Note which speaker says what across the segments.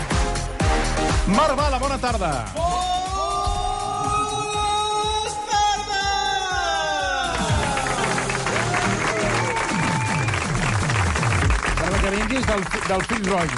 Speaker 1: Vinga. Marc Bala, bona tarda. Sembla que vinguis del, fi- del fill roig,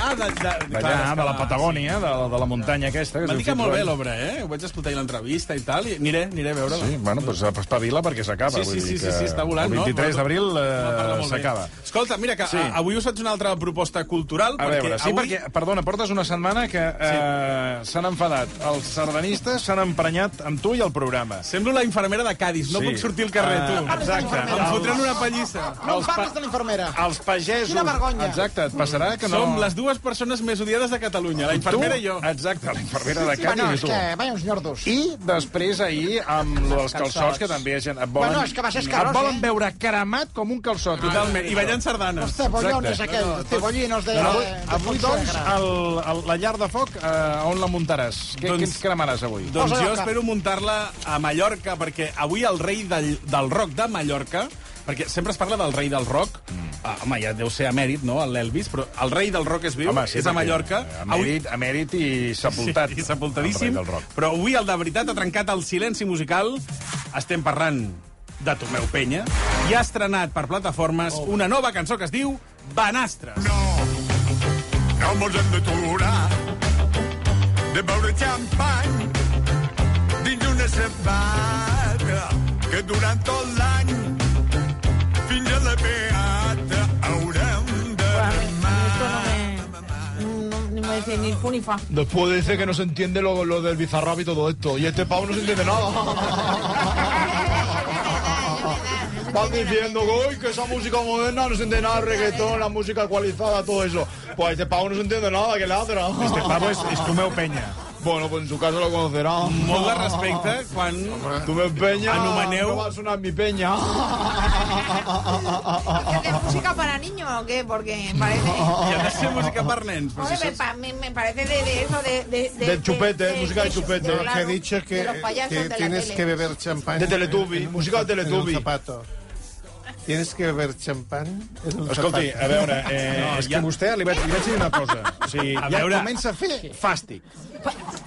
Speaker 2: Ah, de, de,
Speaker 1: d'allà, de la Patagònia, de, de la muntanya aquesta. que es
Speaker 2: M'han
Speaker 1: diu
Speaker 2: dit que
Speaker 1: Phil
Speaker 2: molt bé
Speaker 1: Roig.
Speaker 2: l'obra, eh? Ho vaig escoltar i l'entrevista i tal, i aniré, aniré a veure-la.
Speaker 1: Sí, bueno, doncs espavila perquè s'acaba.
Speaker 2: Sí,
Speaker 1: vull
Speaker 2: sí,
Speaker 1: dir
Speaker 2: sí, sí,
Speaker 1: que
Speaker 2: sí, està volant,
Speaker 1: El 23
Speaker 2: no?
Speaker 1: d'abril
Speaker 2: Em parla
Speaker 1: eh,
Speaker 2: molt bé.
Speaker 1: s'acaba.
Speaker 2: Escolta, mira, que
Speaker 1: Sí.
Speaker 2: sí. avui us faig una altra proposta cultural,
Speaker 1: A
Speaker 2: perquè
Speaker 1: veure, sí,
Speaker 2: avui...
Speaker 1: perquè, perdona, portes una setmana que eh, s'han enfadat. Els sardanistes s'han emprenyat amb tu i el programa.
Speaker 2: Semblo la infermera de Cádiz, no
Speaker 1: Sí.
Speaker 2: puc sortir al carrer,
Speaker 1: Ah,
Speaker 2: tu.
Speaker 1: exacte.
Speaker 2: Em fotran una pallissa.
Speaker 3: No em parles de la infermera.
Speaker 1: Els pagesos...
Speaker 3: Quina vergonya.
Speaker 1: Exacte, et passarà que no...
Speaker 2: Som les dues persones més odiades de Catalunya, la infermera
Speaker 1: tu, Ah,
Speaker 2: i jo.
Speaker 1: Exacte, la infermera de Cádiz
Speaker 3: Bueno, és
Speaker 1: i tu.
Speaker 3: que vaya uns nyordos.
Speaker 1: I després ahir, amb lo dels calçots, que també gent et volen...
Speaker 3: Bueno, és que va ser escarós,
Speaker 1: Et volen
Speaker 3: eh?
Speaker 1: veure cremat com un calçot.
Speaker 2: Totalment, i ballant sardanes.
Speaker 3: Cebollones, aquell. Cebollinos de...
Speaker 1: Eh, Avui,
Speaker 3: de-
Speaker 1: avui
Speaker 3: de-
Speaker 1: doncs, el, el, la llar de foc, eh, on la muntaràs? Què,
Speaker 2: Doncs-
Speaker 1: què ens cremaràs avui?
Speaker 2: Doncs
Speaker 3: Posa-la
Speaker 2: jo
Speaker 3: al cap.
Speaker 2: espero muntar-la a Mallorca, perquè avui el rei del, del rock de Mallorca, perquè sempre es parla del rei del rock,
Speaker 1: Mm.
Speaker 2: ah, home, ja deu ser a mèrit, no?, l'Elvis, però el rei del rock es viu, és a
Speaker 1: perquè,
Speaker 2: Mallorca.
Speaker 1: eh, Emèrit, emèrit i sepultat.
Speaker 2: i sepultadíssim,
Speaker 1: El rei del rock.
Speaker 2: però avui el de veritat ha trencat el silenci musical. Estem parlant de Tomeu Penya, i ha estrenat per plataformes una nova cançó que es diu Banastres. No.
Speaker 4: No mos hem d'aturar de beure xampany dins d'una sabata que durant tot l'any fins a la beata haurem de
Speaker 5: No, ni me dice ni fu ni fa.
Speaker 6: Después dice que no se entiende lo, lo del bizarrap y todo esto. Y este pavo no se entiende nada. Van diciendo que, "Uy, que esa música moderna no se entiende nada, el reggaetón, la música ecualizada, todo eso. Pues este pavo no se entiende nada, que ladra.
Speaker 1: Este pavo és, és Tomeu Penya.
Speaker 6: Bueno, pues en su caso lo conocerá.
Speaker 2: Molt de respecte quan...
Speaker 6: Tú me peña,
Speaker 2: Anomeneu-
Speaker 6: no va a sonar mi peña.
Speaker 5: ¿Es música para niños o qué? Porque parece...
Speaker 2: I ha de ser música per nens. Però si
Speaker 5: Joder, me,
Speaker 2: saps...
Speaker 5: pa- me, me parece de, de eso, de... De,
Speaker 6: Del chupete, música de chupete.
Speaker 5: claro,
Speaker 6: Lo
Speaker 4: Que he dicho
Speaker 5: de
Speaker 4: que,
Speaker 5: los payasos
Speaker 4: que
Speaker 5: de la
Speaker 4: tienes
Speaker 5: tele.
Speaker 4: que beber champán.
Speaker 6: De Teletubby,
Speaker 4: en un
Speaker 6: música de
Speaker 4: zap- en un
Speaker 6: Teletubby.
Speaker 4: zapato. Tienes que beber champán en un
Speaker 1: Escolti,
Speaker 4: zapato.
Speaker 1: a veure, eh, no, és ja... que vostè li vaig, li vaig dir una cosa. O sigui,
Speaker 2: A
Speaker 1: ja
Speaker 2: veure.
Speaker 1: comença a fer fàstic.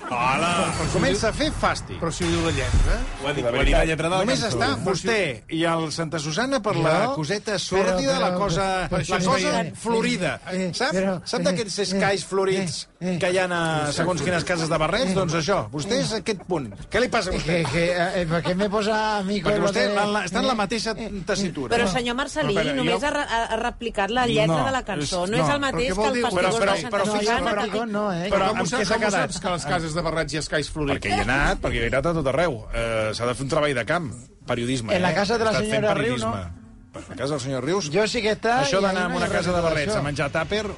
Speaker 2: Hola!
Speaker 1: Comença a fer fàstic.
Speaker 4: Però si ho diu la lletra.
Speaker 2: Ho ha dit, ho ha dit la lletra de la
Speaker 1: Només
Speaker 2: cançó.
Speaker 1: està vostè i el Santa Susana per la
Speaker 4: No,
Speaker 1: coseta sòrdida,
Speaker 4: però-
Speaker 1: la cosa,
Speaker 4: però
Speaker 1: la
Speaker 4: això és
Speaker 1: cosa
Speaker 4: veient.
Speaker 1: florida.
Speaker 4: Eh,
Speaker 1: Sap?
Speaker 4: però-
Speaker 1: Sap d'aquests escais florits que hi ha a segons quines cases de barrets? Doncs això, vostè és aquest punt. Què li passa a vostè?
Speaker 3: Que, que, eh, ¿Por qué me posa a mí con
Speaker 1: Perquè
Speaker 3: lo
Speaker 1: vostè
Speaker 3: de-
Speaker 1: la- la- està en la mateixa tessitura.
Speaker 7: Però, senyor Marcelí,
Speaker 1: Però, però,
Speaker 7: només
Speaker 1: jo-
Speaker 7: ha, re- ha, ha replicat la lletra
Speaker 1: No,
Speaker 7: de la cançó.
Speaker 1: és-
Speaker 7: No, és
Speaker 1: no,
Speaker 7: el mateix que
Speaker 4: però què vol
Speaker 7: el
Speaker 4: dir?
Speaker 7: pastigó
Speaker 1: Però- però-
Speaker 7: de
Speaker 1: però
Speaker 7: Santa
Speaker 3: No,
Speaker 1: fixa't, Susana,
Speaker 3: yo
Speaker 7: Susana.
Speaker 1: però-
Speaker 7: que-
Speaker 3: Patagón no, eh.
Speaker 1: Però
Speaker 4: Com,
Speaker 1: amb
Speaker 4: saps,
Speaker 1: què s'ha
Speaker 4: com ho
Speaker 1: quedat?
Speaker 4: saps que a les cases de barrats hi ha escais florits?
Speaker 1: Perquè hi he anat, perquè hi he anat a tot arreu. Eh, S'ha de fer un treball de camp, periodisme.
Speaker 3: En la
Speaker 1: eh?
Speaker 3: casa de la
Speaker 1: He estat fent
Speaker 3: senyora Riu,
Speaker 1: periodisme.
Speaker 3: no?
Speaker 1: Per la casa del senyor Rius...
Speaker 3: Yo sí que está...
Speaker 1: Això
Speaker 3: y
Speaker 1: d'anar
Speaker 3: ahí
Speaker 1: a
Speaker 3: no
Speaker 1: una
Speaker 3: hay
Speaker 1: casa de barrets a
Speaker 3: recuperación.
Speaker 1: menjar tàper de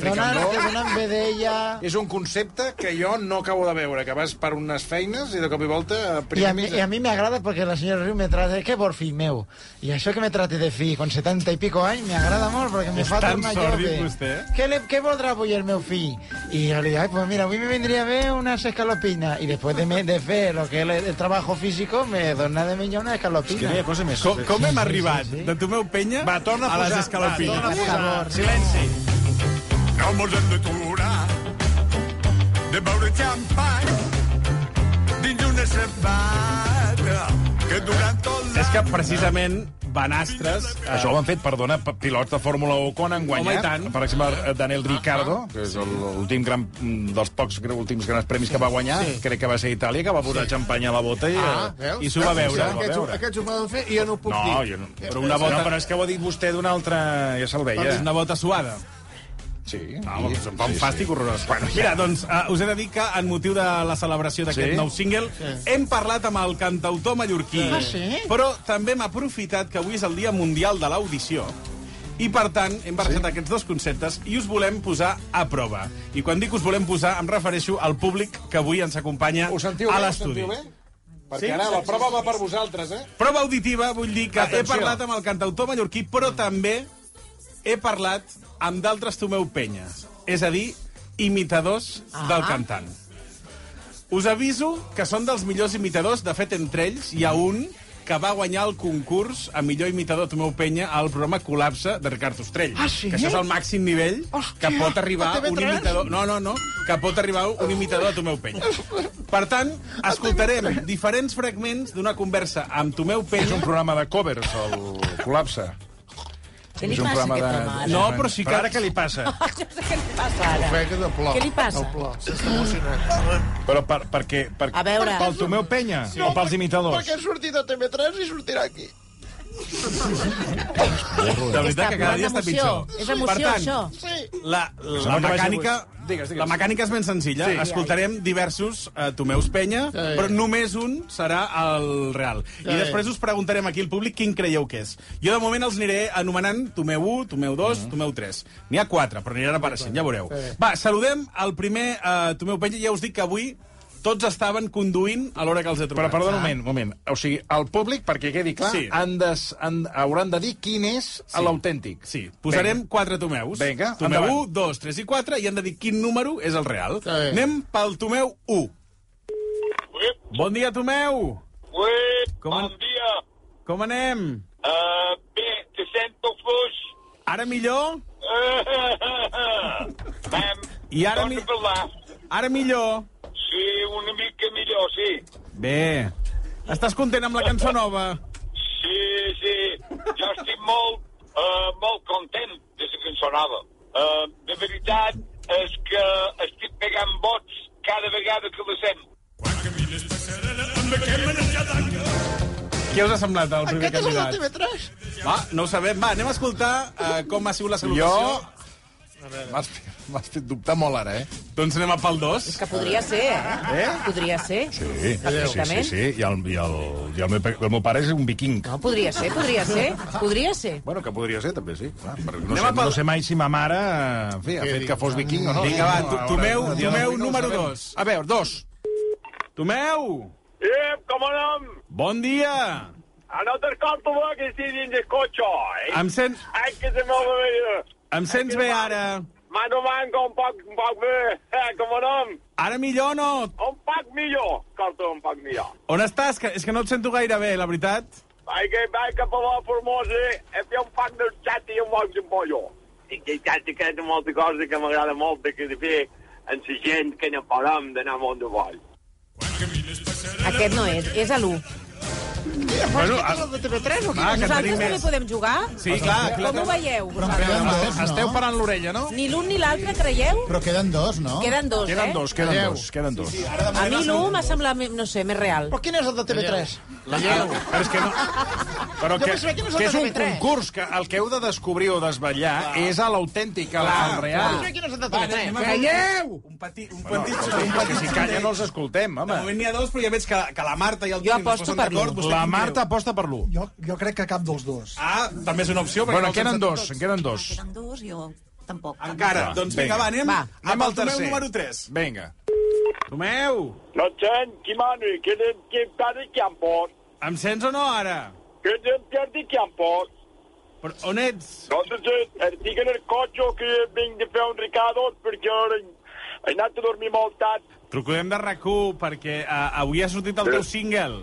Speaker 3: Te donan, te
Speaker 1: fricandó...
Speaker 3: donan bé d'ella...
Speaker 1: És un concepte que jo no acabo de veure, que vas per unes feines i de cop i volta... eh,
Speaker 3: I
Speaker 1: primer
Speaker 3: a, mi,
Speaker 1: mitja-
Speaker 3: I a mi m'agrada perquè la senyora Riu me trata... Que por fill meu. I això que me trate de fill con 70 i pico anys m'agrada molt perquè me
Speaker 2: És
Speaker 3: fa
Speaker 2: tan
Speaker 3: tornar
Speaker 2: sòrdid,
Speaker 3: jove.
Speaker 2: vostè.
Speaker 3: Què, le, què voldrà avui el meu fill? I jo li dic, ai, pues mira, avui me vendria bé una escalopina. I després de, me, de fer lo que el, el trabajo físico, me dona de menjar una escalopina.
Speaker 1: Hi ha cosa més...
Speaker 2: Com, com hem arribat
Speaker 3: sí, sí.
Speaker 2: de Tomeu Penya
Speaker 1: Va, torna a
Speaker 2: a les
Speaker 1: posar... Va,
Speaker 2: escalofines?
Speaker 1: torna a
Speaker 3: Per
Speaker 1: posar...
Speaker 3: favor.
Speaker 1: Silenci.
Speaker 4: No mos hem d'aturar de beure xampany dins d'una sabata que durant tot l'any...
Speaker 2: És que precisament Banastres... eh,
Speaker 1: Això ho han fet, perdona, p- pilots de Fórmula 1 quan han
Speaker 2: Home, i
Speaker 1: guanyat.
Speaker 2: tant.
Speaker 1: Per exemple, eh, Daniel Ricardo, que és el- l'últim gran, mm, dels pocs gr- últims grans premis que va guanyar, crec que va ser a Itàlia, que va posar xampany a la bota i...
Speaker 4: Ah,
Speaker 1: eh,
Speaker 4: veus?
Speaker 2: I s'ho va veure,
Speaker 4: Aquests-
Speaker 1: ho va veure.
Speaker 4: Aquests ho poden fer i jo no ho puc
Speaker 1: No,
Speaker 4: dir.
Speaker 1: jo no...
Speaker 4: Però
Speaker 2: una bota-
Speaker 1: No, però és que ho ha dit vostè d'una altra... Ja se'l veia.
Speaker 2: És una bota suada.
Speaker 1: Sí.
Speaker 2: Home,
Speaker 1: sí,
Speaker 2: doncs em fa un
Speaker 1: sí, sí.
Speaker 2: fàstic horrorós. Bueno, Mira, doncs, eh, us he de dir que en motiu de la celebració d'aquest
Speaker 1: Sí?
Speaker 2: nou single hem parlat amb el cantautor mallorquí.
Speaker 3: Ah, sí?
Speaker 2: Però també hem aprofitat que avui és el Dia Mundial de l'Audició I, per tant, hem barrejat sí? aquests dos conceptes i us volem posar a prova. I quan dic us volem posar, em refereixo al públic que avui ens acompanya
Speaker 4: Ho sentiu
Speaker 2: a
Speaker 4: bé? Ho
Speaker 2: l'estudi.
Speaker 4: sentiu bé? Perquè
Speaker 2: Sí,
Speaker 4: ara
Speaker 2: sí,
Speaker 4: la
Speaker 2: sí,
Speaker 4: prova va per vosaltres, eh?
Speaker 2: Prova auditiva, vull dir que Atenció. he
Speaker 4: Atenció.
Speaker 2: parlat amb el cantautor mallorquí, però també he parlat amb d'altres Tomeu Penya, és a dir, imitadors ah. del cantant. Us aviso que són dels millors imitadors, de fet, entre ells hi ha un que va guanyar el concurs a millor imitador Tomeu Penya al programa Col·lapse de Ricard Ostrell.
Speaker 3: Ah, sí?
Speaker 2: Que això és el màxim nivell
Speaker 3: Hòstia,
Speaker 2: que pot arribar
Speaker 3: a TV3?
Speaker 2: un imitador... No, no, no, que pot arribar un imitador de Tomeu Penya. Per tant, escoltarem diferents fragments d'una conversa amb Tomeu Penya
Speaker 1: És un programa de covers, el Col·lapse.
Speaker 7: Què li
Speaker 1: És un
Speaker 7: passa a
Speaker 1: programa
Speaker 7: aquest
Speaker 1: de-
Speaker 7: home?
Speaker 2: No, però sí que...
Speaker 1: Però ara què li passa?
Speaker 7: No sé què li passa ara.
Speaker 4: Ofega de plor.
Speaker 7: Què li passa?
Speaker 4: El plor. S'està emocionant.
Speaker 1: Però per, perquè... Per,
Speaker 7: A veure.
Speaker 1: Pel Tomeu Penya sí. o pels imitadors?
Speaker 6: Perquè ha sortit a TV3 i sortirà aquí.
Speaker 2: De veritat que cada dia està
Speaker 7: emoció.
Speaker 2: pitjor.
Speaker 7: És emoció,
Speaker 2: per tant,
Speaker 7: això.
Speaker 6: Sí.
Speaker 2: La, la,
Speaker 1: Sembla que vagi
Speaker 2: mecànica,
Speaker 1: avui. Digues, digues.
Speaker 2: la mecànica és ben senzilla. Sí. Escoltarem diversos eh, Tomeus Penya, però només un serà el real. I després us preguntarem aquí al públic quin creieu que és. Jo, de moment, els aniré anomenant Tomeu 1, Tomeu
Speaker 1: Mm.
Speaker 2: 2, Tomeu 3. N'hi ha 4, però aniran apareixent, ja veureu. Va, saludem el primer eh, Tomeu Penya. Ja us dic que avui tots estaven conduint a l'hora que els he
Speaker 1: Però,
Speaker 2: trucat.
Speaker 1: perdó, un moment, un moment. O sigui, el públic, perquè quedi clar,
Speaker 2: Sí.
Speaker 1: sí. han de, han, hauran de dir quin és sí. l'autèntic.
Speaker 2: Sí, posarem Venga. quatre tomeus.
Speaker 1: Vinga,
Speaker 2: Tomeu
Speaker 1: endavant.
Speaker 2: 1, 2, 3 i 4, i han de dir quin número és el real.
Speaker 4: Està bé.
Speaker 2: Anem pel Tomeu 1. Bon dia, Tomeu!
Speaker 8: Ui,
Speaker 2: Com
Speaker 8: bon
Speaker 2: en-
Speaker 8: dia.
Speaker 2: Com anem?
Speaker 8: Uh, bé, te sento fluix.
Speaker 2: Ara millor?
Speaker 8: Vam,
Speaker 2: I ara
Speaker 8: torna
Speaker 2: mi-
Speaker 8: a parlar.
Speaker 2: Ara millor?
Speaker 8: Sí, una mica millor, sí.
Speaker 2: Bé. Estàs content amb la cançó nova?
Speaker 8: Sí, sí. Jo estic molt, uh, molt content de la cançó nova. Uh, de veritat és que estic pegant vots cada vegada que la sent.
Speaker 2: Què us ha semblat, el primer
Speaker 3: Aquest és el de
Speaker 2: candidat?
Speaker 3: TV3.
Speaker 2: Va, no ho sabem. Va, anem a escoltar uh, com ha sigut la salutació.
Speaker 1: Jo... M'has fet- M'has fet dubtar molt ara, eh?
Speaker 2: Jo... Doncs anem a pel 2.
Speaker 7: Que podria ser, eh? eh? Podria ser.
Speaker 1: Sí, sí, sí,
Speaker 7: Perfectament.
Speaker 1: sí. I, el, i, el, i el, meu, pe- el meu pare és un viking.
Speaker 7: No, podria ser, podria ser. Podria ser.
Speaker 1: Bueno, que podria ser, també, sí. Clar, perquè no,
Speaker 2: Anem
Speaker 1: sé,
Speaker 2: a pel-
Speaker 1: no sé mai si ma mare eh, en fi, ha fet que fos viking o no.
Speaker 2: Vinga, va, tu-
Speaker 1: Ara-
Speaker 2: Tomeu,
Speaker 1: a dia
Speaker 2: Tomeu
Speaker 1: d'avui no ho
Speaker 2: número
Speaker 1: sabem.
Speaker 2: 2.
Speaker 1: A veure, dos.
Speaker 2: Tomeu!
Speaker 8: Eh, com anem?
Speaker 2: Bon dia!
Speaker 8: A no t'escolto, que estic dins el cotxe. Eh?
Speaker 2: Em sent...
Speaker 8: Ai, que se mou bé.
Speaker 2: Em sents bé ara?
Speaker 8: Mano manco un poc, un poc bé, eh, com anem?
Speaker 2: Ara millor o no?
Speaker 8: Un poc millor, escolta, un poc millor.
Speaker 2: On estàs? Que, és que no et sento gaire bé, la veritat.
Speaker 8: Vai que vai cap a la Formosa, he fet un poc del xat i un moc de pollo. I que ja t'he fet molta cosa que m'agrada molt de que de fer amb la gent que no parem d'anar molt de vol.
Speaker 7: Aquest no és, és a l'1.
Speaker 3: Bueno, és el de TV3 o què?
Speaker 2: Ah, que
Speaker 7: Nosaltres
Speaker 2: tenim
Speaker 7: també
Speaker 2: més.
Speaker 7: podem jugar?
Speaker 2: Sí, clar, clar.
Speaker 7: Com ho veieu? vosaltres?
Speaker 3: Queden dos, no?
Speaker 1: Esteu parant l'orella, no?
Speaker 7: Ni l'un ni l'altre, creieu?
Speaker 3: Però queden dos, no?
Speaker 7: Queden dos, eh?
Speaker 1: Queden dos, queden dos, queden dos.
Speaker 7: A mi l'un m'ha semblat, me- no sé, més real.
Speaker 3: Però quin és el de TV3?
Speaker 1: La lleu. Però és que no... Però que,
Speaker 3: pensava que no és el
Speaker 1: que és un
Speaker 3: TV3.
Speaker 1: concurs, que el que heu de descobrir o desvetllar és a l'autèntic, el, el real.
Speaker 3: Però quin és el de TV3?
Speaker 2: Calleu! Un petit... Un petit...
Speaker 1: Escolti,
Speaker 2: un
Speaker 1: és que
Speaker 2: petit
Speaker 1: si calla no els escoltem,
Speaker 2: De
Speaker 1: home.
Speaker 2: moment n'hi ha dos, però ja veig que, que la Marta i el
Speaker 7: Jo
Speaker 2: Toni no es
Speaker 7: aposto
Speaker 2: posen
Speaker 7: per l'un.
Speaker 2: d'acord. vostè
Speaker 1: La
Speaker 2: quin
Speaker 1: Marta
Speaker 2: creu?
Speaker 1: aposta per l'1.
Speaker 9: Jo, jo crec que cap dels dos.
Speaker 2: Ah, també és una opció. perquè
Speaker 1: Bueno, en
Speaker 2: no els
Speaker 1: queden
Speaker 2: hem sentit
Speaker 1: dos, en queden dos.
Speaker 7: dos, jo tampoc.
Speaker 2: Encara. Doncs vinga,
Speaker 1: Vinga.
Speaker 2: va, anem,
Speaker 7: Va,
Speaker 1: anem
Speaker 2: amb
Speaker 1: al
Speaker 2: el Tomeu
Speaker 1: tercer.
Speaker 2: número 3.
Speaker 1: Vinga.
Speaker 2: Tomeu,
Speaker 8: No sent, qui mano, que de que pare que em pot,
Speaker 2: em sents o no ara?
Speaker 8: que de perdi que em pot.
Speaker 2: Però on ets?
Speaker 8: No te sé, estic en el cotxe que vinc de fer un ricado perquè ara he anat a dormir molt tard.
Speaker 2: Trucarem de rac perquè uh, avui ha sortit el teu single.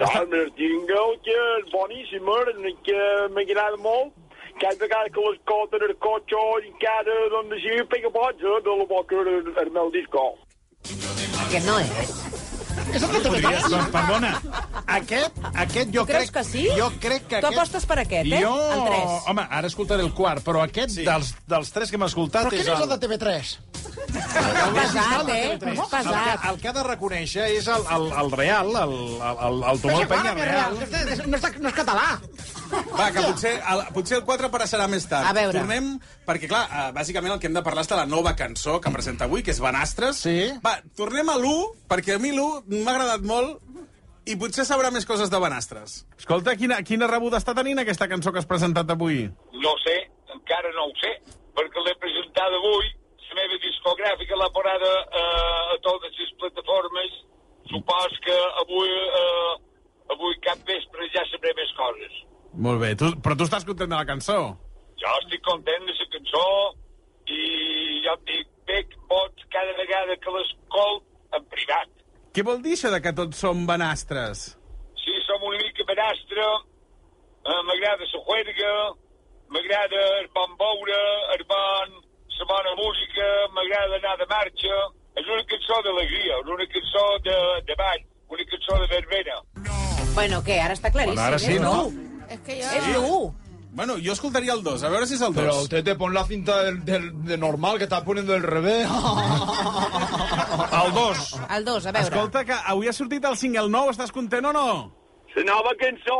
Speaker 8: Doncs el jingle, que és boníssim, eh, que m'agrada molt. Cada vegada que l'escolta en el cotxe, encara, doncs, així, pega boig, eh, de la boca el, el meu disco.
Speaker 7: Aquest no eh? és.
Speaker 1: Podries, doncs, perdona, aquest, aquest jo
Speaker 7: Creus
Speaker 1: crec...
Speaker 7: que sí?
Speaker 1: Jo crec que
Speaker 7: Tu
Speaker 1: aquest...
Speaker 7: apostes per aquest, eh?
Speaker 1: Jo,
Speaker 7: El tres.
Speaker 1: home, ara escoltaré el quart, però aquest
Speaker 2: Sí.
Speaker 1: dels, dels tres que hem escoltat
Speaker 3: Però quin és el de TV3?
Speaker 7: Pesat, eh?
Speaker 1: El que,
Speaker 7: Pesat.
Speaker 1: el que ha de reconèixer és el, el, el real, el, el, el, el Tomeu Penya real.
Speaker 3: No és, no és català.
Speaker 2: Va, que potser el, potser el 4 apareixerà més tard.
Speaker 7: A veure.
Speaker 2: Tornem, perquè, clar, eh, bàsicament el que hem de parlar és de la nova cançó que presenta avui, que és Banastres.
Speaker 3: Sí.
Speaker 2: Va, tornem a l'1, perquè a mi l'1 m'ha agradat molt i potser sabrà més coses de Banastres. Escolta, quina, quina rebuda està tenint aquesta cançó que has presentat avui?
Speaker 8: No sé, encara no ho sé, perquè l'he presentat avui, la meva discogràfica l'ha parada eh, a totes les plataformes, supos que avui, eh, avui cap vespre ja sabré més coses.
Speaker 2: Molt bé. Tu, però tu estàs content de la cançó?
Speaker 8: Jo estic content de la cançó i jo et dic, bec vots cada vegada que l'escolt en privat.
Speaker 2: Què vol dir això de que tots som banastres?
Speaker 8: Sí, som una mica benastre, eh, m'agrada la juerga, m'agrada el bon veure, el bon, la bona música, m'agrada anar de marxa. És una cançó d'alegria, és una cançó de, de ball, una cançó de verbena.
Speaker 7: Bueno, què? Ara està claríssim. eh?
Speaker 1: Bueno, ara sí,
Speaker 7: és
Speaker 1: no?
Speaker 7: dur.
Speaker 5: Es que yo...
Speaker 7: És dur.
Speaker 2: Bueno, jo escoltaria el 2, a veure si és el 2.
Speaker 6: Pero usted te pon la cinta del, del- de normal que está poniendo del revés.
Speaker 2: El 2.
Speaker 7: El dos, a veure.
Speaker 2: Escolta, que avui ha sortit el single nou, estàs content o no?
Speaker 8: La nova cançó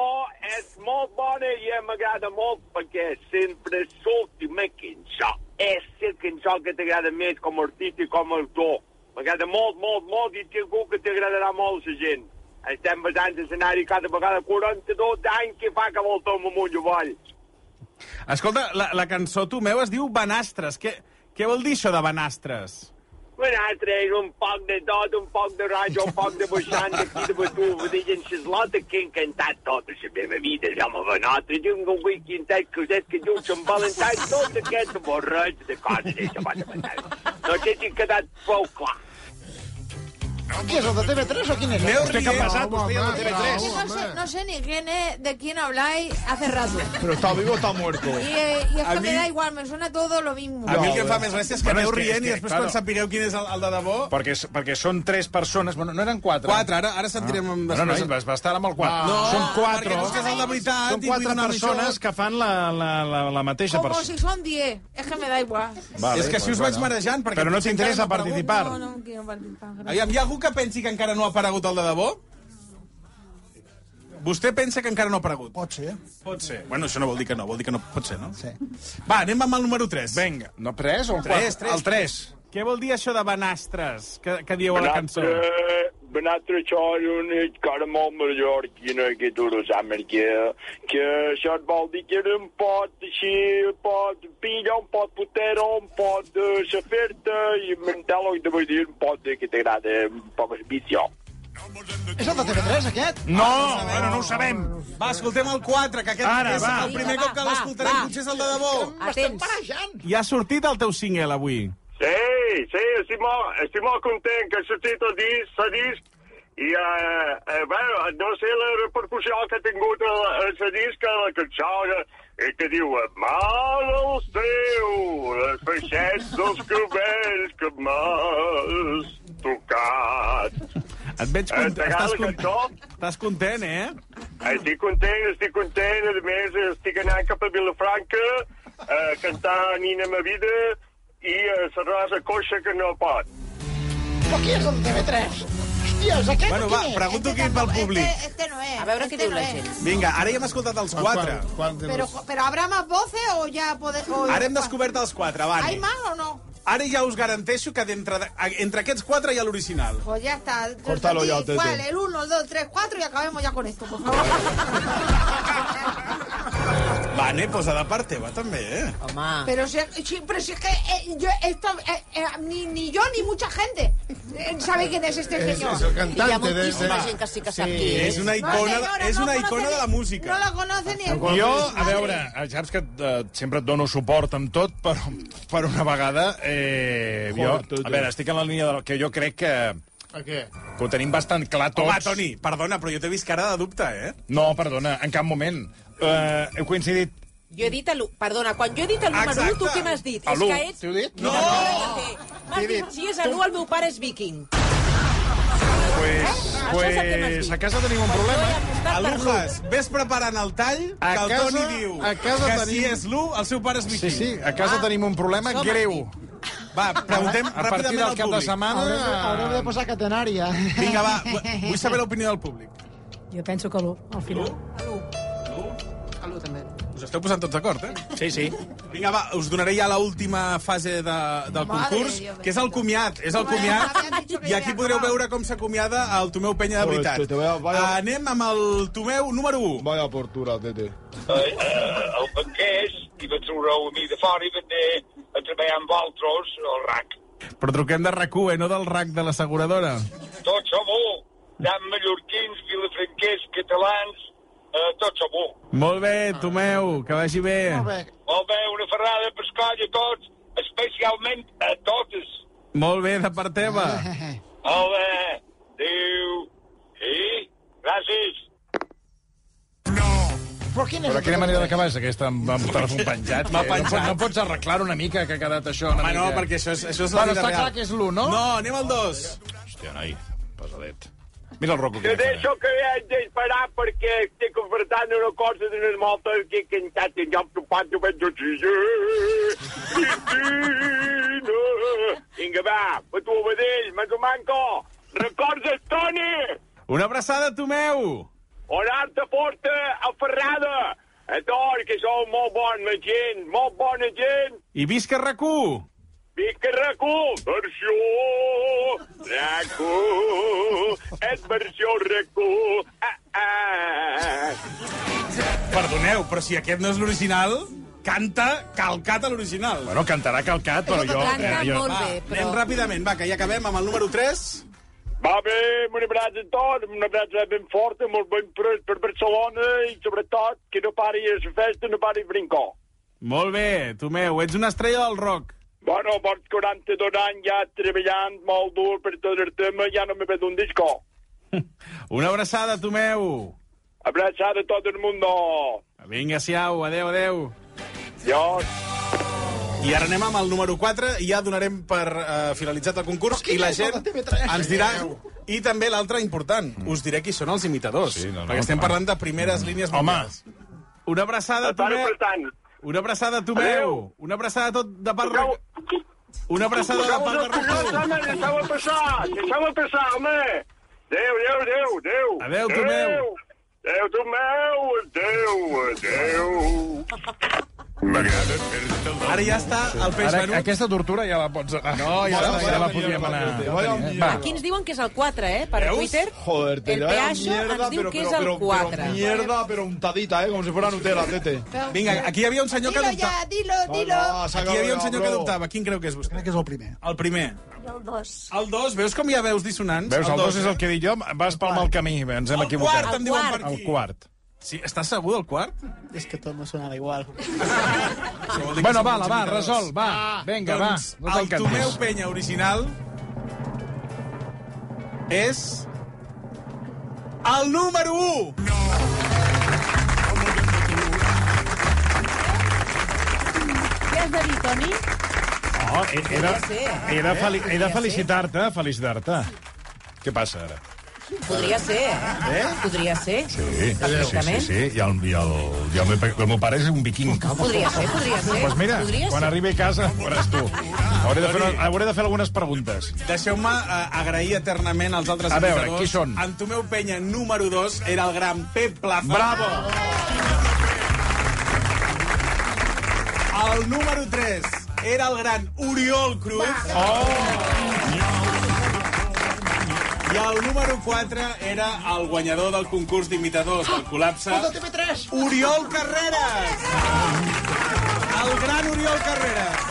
Speaker 8: és molt bona i m'agrada molt perquè sempre és l'última cançó. És la cançó que t'agrada més com a artista i com a autor. M'agrada molt, molt, molt i segur que t'agradarà molt la gent. Estem basant l'escenari cada vegada 42 anys que fa que voltem amunt i avall.
Speaker 2: Escolta, la, la cançó tu meu es diu Banastres. Què, què vol dir això de Banastres?
Speaker 8: Nosaltres és un poc de tot, un poc de roig, un poc de baixant, d'aquí de Batuva, de Llenceslota, que he encantat tota la meva vida, ja me va notre, jo un gongui quintet, coset, que diu Sant Valentà, tot aquest borreig de coses, això va de passar. No sé si he quedat prou clar.
Speaker 3: ¿Qué es eso, de TV3 o quién es?
Speaker 2: Usted què ha passat? Usted ja no té
Speaker 5: Es que
Speaker 2: tres.
Speaker 5: no, sé, no sé ni quién es, de quién habláis hace rato.
Speaker 6: Pero está vivo o está muerto.
Speaker 5: Y, eh, y es
Speaker 2: A
Speaker 5: que
Speaker 2: mí-
Speaker 5: me da igual, me suena todo lo mismo.
Speaker 2: A mi el que em fa més gràcia és que
Speaker 1: Bueno, és
Speaker 2: aneu
Speaker 1: que- és
Speaker 2: rient
Speaker 1: que,
Speaker 2: i després
Speaker 1: claro.
Speaker 2: quan sapigueu quin és el, el de debò...
Speaker 1: Perquè, s- perquè són tres persones... Bueno, no eren quatre.
Speaker 2: Quatre, ara, ara sentirem
Speaker 1: No,
Speaker 2: ah.
Speaker 1: no, no,
Speaker 2: després.
Speaker 1: vas, vas estar amb el quatre.
Speaker 2: No,
Speaker 1: són quatre.
Speaker 2: perquè busques el de veritat i
Speaker 1: Són
Speaker 2: vull
Speaker 1: quatre
Speaker 2: donar-li
Speaker 1: persones
Speaker 2: això.
Speaker 1: que fan la, la, la, la mateixa
Speaker 5: Como
Speaker 1: persona.
Speaker 5: si son 10. Es que me da igual.
Speaker 1: Vale,
Speaker 2: és que si us vaig marejant... Perquè
Speaker 1: Però no
Speaker 2: potser
Speaker 1: t'interessa
Speaker 2: encara no ha aparegut.
Speaker 1: participar.
Speaker 5: No, no quiero participar. gracias.
Speaker 2: Aviam, hi ha algú que pensi que encara no ha aparegut el de debò? Vostè pensa que encara no ha aparegut?
Speaker 4: Pot ser.
Speaker 2: Pot ser. Bueno, això no vol dir que no, vol dir que no pot ser, no? Sí. Va, anem amb el número 3.
Speaker 1: Vinga. No, tres o
Speaker 2: Tres,
Speaker 1: tres,
Speaker 2: tres.
Speaker 1: tres. El tres.
Speaker 2: Què vol dir això de banastres que, que dieu a la cançó?
Speaker 8: Benatre xor, una cara molt mallorquina que tu no saps per què, que això et vol dir que era un pot així, un pot pilla, un pot putero, un pot de safer-te i mentar el que te vull dir, un pot de que t'agrada, un poc ambició.
Speaker 3: ¿Es el de TV3 aquest?
Speaker 1: No, bueno, no ho sabem.
Speaker 2: Va, escoltem el 4, que aquest
Speaker 1: Ara,
Speaker 2: és
Speaker 1: va.
Speaker 2: el primer
Speaker 7: Vinga,
Speaker 2: cop
Speaker 7: va,
Speaker 2: que
Speaker 7: va,
Speaker 2: l'escoltarem,
Speaker 7: va.
Speaker 2: potser és el de debò.
Speaker 7: Atents.
Speaker 2: Ja ha sortit el teu single avui.
Speaker 8: Sí, sí, estic molt, estic molt content que ha sortit el disc, el disc, i, eh, eh, bueno, no sé la repercussió que ha tingut el, el, el disc, a la cançó, eh, que diu, eh, mal els teu, les feixets dels cabells que m'has tocat.
Speaker 2: Et veig
Speaker 8: Eh,
Speaker 2: content.
Speaker 8: t'agrada
Speaker 2: Estàs,
Speaker 8: la
Speaker 2: content.
Speaker 8: cançó?
Speaker 2: Estàs content, eh?
Speaker 8: Estic content, estic content, a més estic anant cap a Vilafranca a cantar Nina Ma Vida i a la Rosa Coixa que no pot.
Speaker 3: Però qui és el de TV3? Hòsties, aquest
Speaker 2: Bueno,
Speaker 3: qui
Speaker 2: va,
Speaker 3: és?
Speaker 2: pregunto aquí
Speaker 5: Este
Speaker 2: pel
Speaker 5: tampoco-
Speaker 2: públic.
Speaker 5: Este, este no es.
Speaker 7: A veure
Speaker 5: este
Speaker 7: què diu
Speaker 5: no
Speaker 7: la
Speaker 5: es.
Speaker 7: gent.
Speaker 2: Vinga, ara ja hem escoltat els 4.
Speaker 4: Quan, quan de
Speaker 5: Pero,
Speaker 4: los...
Speaker 5: pero habrá más voces o ya podemos.
Speaker 2: Ara hem descobert els 4, va.
Speaker 5: ¿Hay
Speaker 2: Anna.
Speaker 5: más o no?
Speaker 2: Ara ja us garanteixo que d'entre de- entre aquests 4 hi ha l'original.
Speaker 5: Pues ya está.
Speaker 6: Córtalo ya, Tete.
Speaker 5: ¿Cuál? El 1, el 2, 3, 4 y acabemos ya con esto, por favor.
Speaker 2: Va, anem, posa de part teva, també, eh?
Speaker 7: Home,
Speaker 5: Pero si, si- pero si es que eh, yo, esto, eh, eh, ni, ni yo ni mucha gente eh, sabe quién es este
Speaker 4: És,
Speaker 5: señor.
Speaker 4: és
Speaker 7: hi
Speaker 4: el
Speaker 7: ha
Speaker 4: cantant de...
Speaker 7: moltíssima gent que sí que sap qui
Speaker 2: És
Speaker 7: és.
Speaker 2: una
Speaker 5: No,
Speaker 2: icona,
Speaker 5: señora,
Speaker 2: és
Speaker 5: no
Speaker 2: una
Speaker 5: conoce
Speaker 2: icona
Speaker 5: ni-
Speaker 2: de la música.
Speaker 5: No la conoce ni el
Speaker 1: Jo, a veure, eh, saps que eh, sempre et dono suport amb tot, però per una vegada... Eh, jo,
Speaker 6: Joder, tu, tu.
Speaker 1: a veure, estic en la línia del que jo crec que,
Speaker 4: A què?
Speaker 1: que ho tenim bastant clar tots.
Speaker 2: Home, Toni, perdona, però jo t'he vist cara de dubte, eh?
Speaker 1: No, perdona, en cap moment. Eh, heu coincidit...
Speaker 7: Jo he dit el... Perdona, quan jo he dit el número
Speaker 2: Exacte.
Speaker 7: 1, tu què m'has dit?
Speaker 1: A
Speaker 7: És
Speaker 1: l'u.
Speaker 7: que ets...
Speaker 4: T'ho he dit?
Speaker 7: No! M'has dit, si és l'1, el meu pare és viking.
Speaker 1: Pues,
Speaker 7: Això és el que m'has
Speaker 1: pues,
Speaker 7: dit.
Speaker 1: a casa tenim un
Speaker 7: Jo he
Speaker 1: problema.
Speaker 7: apostat per l'1.
Speaker 2: Alujas, ves preparant el tall
Speaker 4: A
Speaker 2: que el
Speaker 4: casa-
Speaker 2: Toni diu
Speaker 4: a casa
Speaker 2: que si
Speaker 4: tenim-
Speaker 2: és l'1, el seu pare és
Speaker 1: Sí,
Speaker 2: Miquí.
Speaker 1: sí, a casa tenim un problema
Speaker 7: Ah, som
Speaker 1: greu.
Speaker 2: Va, preguntem
Speaker 1: A partir
Speaker 2: ràpidament
Speaker 1: del
Speaker 2: al
Speaker 1: cap de
Speaker 2: públic.
Speaker 1: setmana...
Speaker 3: Haureu de, haureu de posar catenària.
Speaker 2: Vinga, va, vu- vull saber l'opinió del públic.
Speaker 9: Jo penso que l'1, al final.
Speaker 2: Us esteu posant tots d'acord, eh?
Speaker 1: Sí, sí.
Speaker 2: Vinga, va, us donaré ja l'última fase de, del
Speaker 5: Madre
Speaker 2: concurs,
Speaker 5: Dios,
Speaker 2: que és el comiat, és el
Speaker 5: Bueno,
Speaker 2: comiat,
Speaker 5: m'havien dicho que
Speaker 2: i aquí
Speaker 5: ja
Speaker 2: podreu
Speaker 5: acabava.
Speaker 2: veure com s'acomiada el Tomeu Penya de
Speaker 6: Pues te-
Speaker 2: veritat.
Speaker 6: te veo- vaya-
Speaker 2: Anem amb el Tomeu número 1.
Speaker 6: Vaya portura, tete.
Speaker 8: eh, eh, el banquers i va treure-ho a mi de fora i va anar a treballar amb altres al RAC.
Speaker 2: Però truquem de rac eh, no del RAC de l'asseguradora.
Speaker 8: Tots som un. Tant mallorquins, vilafranquers, catalans, eh, tots som un.
Speaker 2: Molt bé, Tomeu, que vagi bé.
Speaker 8: Molt bé, una ferrada per escoll a tots, especialment a totes.
Speaker 2: Molt bé, de part teva.
Speaker 8: Molt bé, adéu. I gràcies.
Speaker 3: Però quin és
Speaker 1: Però
Speaker 3: el
Speaker 1: quina manera
Speaker 3: problema?
Speaker 1: d'acabar és aquesta amb, amb telèfon penjat?
Speaker 2: M'ha
Speaker 1: Eh, no,
Speaker 2: penjat.
Speaker 1: pots, no pots arreglar una mica que ha quedat això una
Speaker 2: Home, Ah, no,
Speaker 1: mica?
Speaker 2: perquè això és, això és la
Speaker 1: Bueno,
Speaker 2: vida
Speaker 1: està
Speaker 2: real.
Speaker 1: clar que és l'u, no?
Speaker 2: No, anem al 2.
Speaker 1: Hòstia, noi, pesadet. Mira el Rocco.
Speaker 8: Te deixo que haig d'esperar perquè estic ofertant una cosa d'unes moltes que he cantat en lloc d'un pat de veig Vinga, va, a tu obedeix, me tu manco. Recorda, Toni,
Speaker 2: Una abraçada, Tomeu.
Speaker 8: orar-te forta, aferrada. A tots, que sou molt bona gent, molt bona gent.
Speaker 2: I visca RAC1.
Speaker 8: Vic RAC1, versió RAC1, és versió RAC1. Ah, ah.
Speaker 2: Perdoneu, però si aquest no és l'original, canta calcat a l'original.
Speaker 1: Bueno, cantarà calcat, però jo...
Speaker 7: Canta
Speaker 1: eh, jo...
Speaker 7: molt bé, però...
Speaker 2: Anem ràpidament, va, que ja acabem amb el número 3.
Speaker 8: Va bé, un abraç a tots, una abraç ben forta, molt ben pres per Barcelona i sobretot que no pari a la festa, no pari a brincar.
Speaker 2: Molt bé, Tomeu, ets una estrella del rock.
Speaker 8: Bueno, ports 42 anys ja treballant molt dur per tot el tema, ja no me ve d'un disco.
Speaker 2: Una abraçada, Tomeu.
Speaker 8: Abraçada a tot el món.
Speaker 2: Vinga, siau, adeu, adeu.
Speaker 8: Adiós.
Speaker 2: I ara anem amb el número 4 i ja donarem per uh, finalitzat el concurs i la gent ens dirà... I també l'altre important, us diré qui són els imitadors,
Speaker 1: Sí, no, no,
Speaker 2: perquè estem
Speaker 1: clar.
Speaker 2: parlant de primeres línies
Speaker 1: Home,
Speaker 2: mundials. Mm. Una abraçada,
Speaker 8: Espero per
Speaker 2: Tomeu.
Speaker 8: tant.
Speaker 2: Una abraçada, Tomeu.
Speaker 8: Adeu.
Speaker 2: Una abraçada tot de part...
Speaker 8: Toqueu-
Speaker 2: Una abraçada de part de
Speaker 8: Collons,
Speaker 2: Rafael.
Speaker 8: home, deixeu-me passar, deixeu-me passar, home. Adéu, adéu, adéu, adéu.
Speaker 2: Adéu, Tomeu.
Speaker 8: Adéu, Tomeu, adéu, adéu.
Speaker 2: Ara ja està el peix
Speaker 1: ara,
Speaker 2: venut.
Speaker 1: aquesta tortura ja la pots... No,
Speaker 2: ja la- ja la
Speaker 1: podríem anar...
Speaker 6: Vaya mierda.
Speaker 7: Aquí ens diuen que és el 4, eh? Per
Speaker 2: Veus?
Speaker 7: Twitter.
Speaker 6: Joder, te
Speaker 7: el
Speaker 6: vaya
Speaker 7: peacho ens diu que és el 4.
Speaker 6: Pero mierda, pero untadita, ¿eh? Como si fuera Nutella, tete. Ah,
Speaker 2: Vinga, aquí hi havia un senyor que
Speaker 5: Dilo
Speaker 2: dubtava.
Speaker 5: ya, dilo, dilo.
Speaker 2: Aquí hi havia un senyor que dubtava. Quin creu que és vostè?
Speaker 9: Crec que és el primer.
Speaker 2: El primer.
Speaker 7: El 2.
Speaker 2: El dos, veus com hi ha veus dissonants?
Speaker 1: Veus, el dos
Speaker 2: dos
Speaker 1: és el que he dit jo, vas pel mal camí, ens hem
Speaker 2: El quart,
Speaker 1: equivocat.
Speaker 2: em diuen per
Speaker 7: quart.
Speaker 2: aquí.
Speaker 1: El quart.
Speaker 2: Sí, estàs segur del quart?
Speaker 9: És que tot no sonava igual.
Speaker 1: Bueno, va, la va, resol, va. Vinga, va.
Speaker 2: doncs,
Speaker 1: No
Speaker 2: el Tomeu
Speaker 1: t'encantis.
Speaker 2: Penya original és el número 1. No.
Speaker 7: Què has de dir, Toni?
Speaker 1: No, Oh, he, he de, he de, feli he de
Speaker 7: Podria
Speaker 1: felicitar-te, felicitar-te. Què passa ara?
Speaker 7: Podria ser. Eh? Podria ser.
Speaker 1: Sí, sí, sí,
Speaker 7: Perfectament.
Speaker 1: sí. I el, i el, i el, meu, el meu pare és un viking.
Speaker 7: Podria ser, podria ser.
Speaker 1: Doncs mira,
Speaker 7: podria
Speaker 1: quan
Speaker 7: ser.
Speaker 1: arribi a casa, veuràs tu. Hauré de, fer, hauré de fer algunes preguntes.
Speaker 2: Deixeu-me eh, agrair eternament als altres
Speaker 1: A veure,
Speaker 2: imitadors.
Speaker 1: qui són?
Speaker 2: En Tomeu Penya, número 2, era el gran Pep Plaza.
Speaker 1: Bravo!
Speaker 2: El número 3 era el gran Oriol Cruz. Oh! I el número 4 era el guanyador del concurs d'imitadors del col·lapse,
Speaker 3: TV3!
Speaker 2: Oriol Carreras! El gran Oriol Carreras.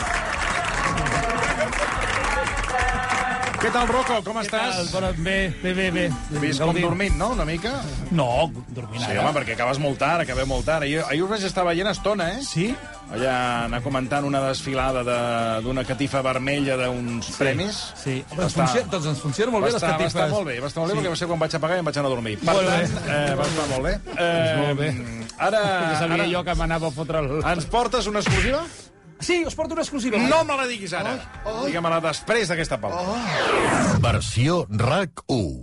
Speaker 1: Què tal, Rocco? Com estàs?
Speaker 9: Bé, bé, bé. bé.
Speaker 1: Vist com dormint, no?, una mica?
Speaker 9: No, dormint
Speaker 1: Sí, home, perquè acabes molt tard, acabeu molt tard. Ahir, ahir us vaig estar veient estona, eh?
Speaker 9: Sí?
Speaker 1: Allà anar comentant una desfilada de- d'una catifa vermella d'uns premis.
Speaker 9: Sí.
Speaker 1: Va
Speaker 9: Ens
Speaker 1: estar-
Speaker 9: funciona, doncs ens funciona molt
Speaker 1: Va
Speaker 9: bé les
Speaker 1: estar, va
Speaker 9: catifes.
Speaker 1: estar molt bé, va estar molt bé, perquè va ser quan vaig apagar i em vaig anar a dormir. Per
Speaker 9: Molt Doncs
Speaker 1: tant, eh, va estar molt bé. Eh,
Speaker 9: molt bé.
Speaker 1: Ara, ara
Speaker 9: que m'anava a fotre el...
Speaker 1: ens portes una exclusiva?
Speaker 9: Sí, us porto una exclusiva.
Speaker 1: No me la diguis ara. Digue-me-la després d'aquesta pausa.
Speaker 10: Versió RAC 1.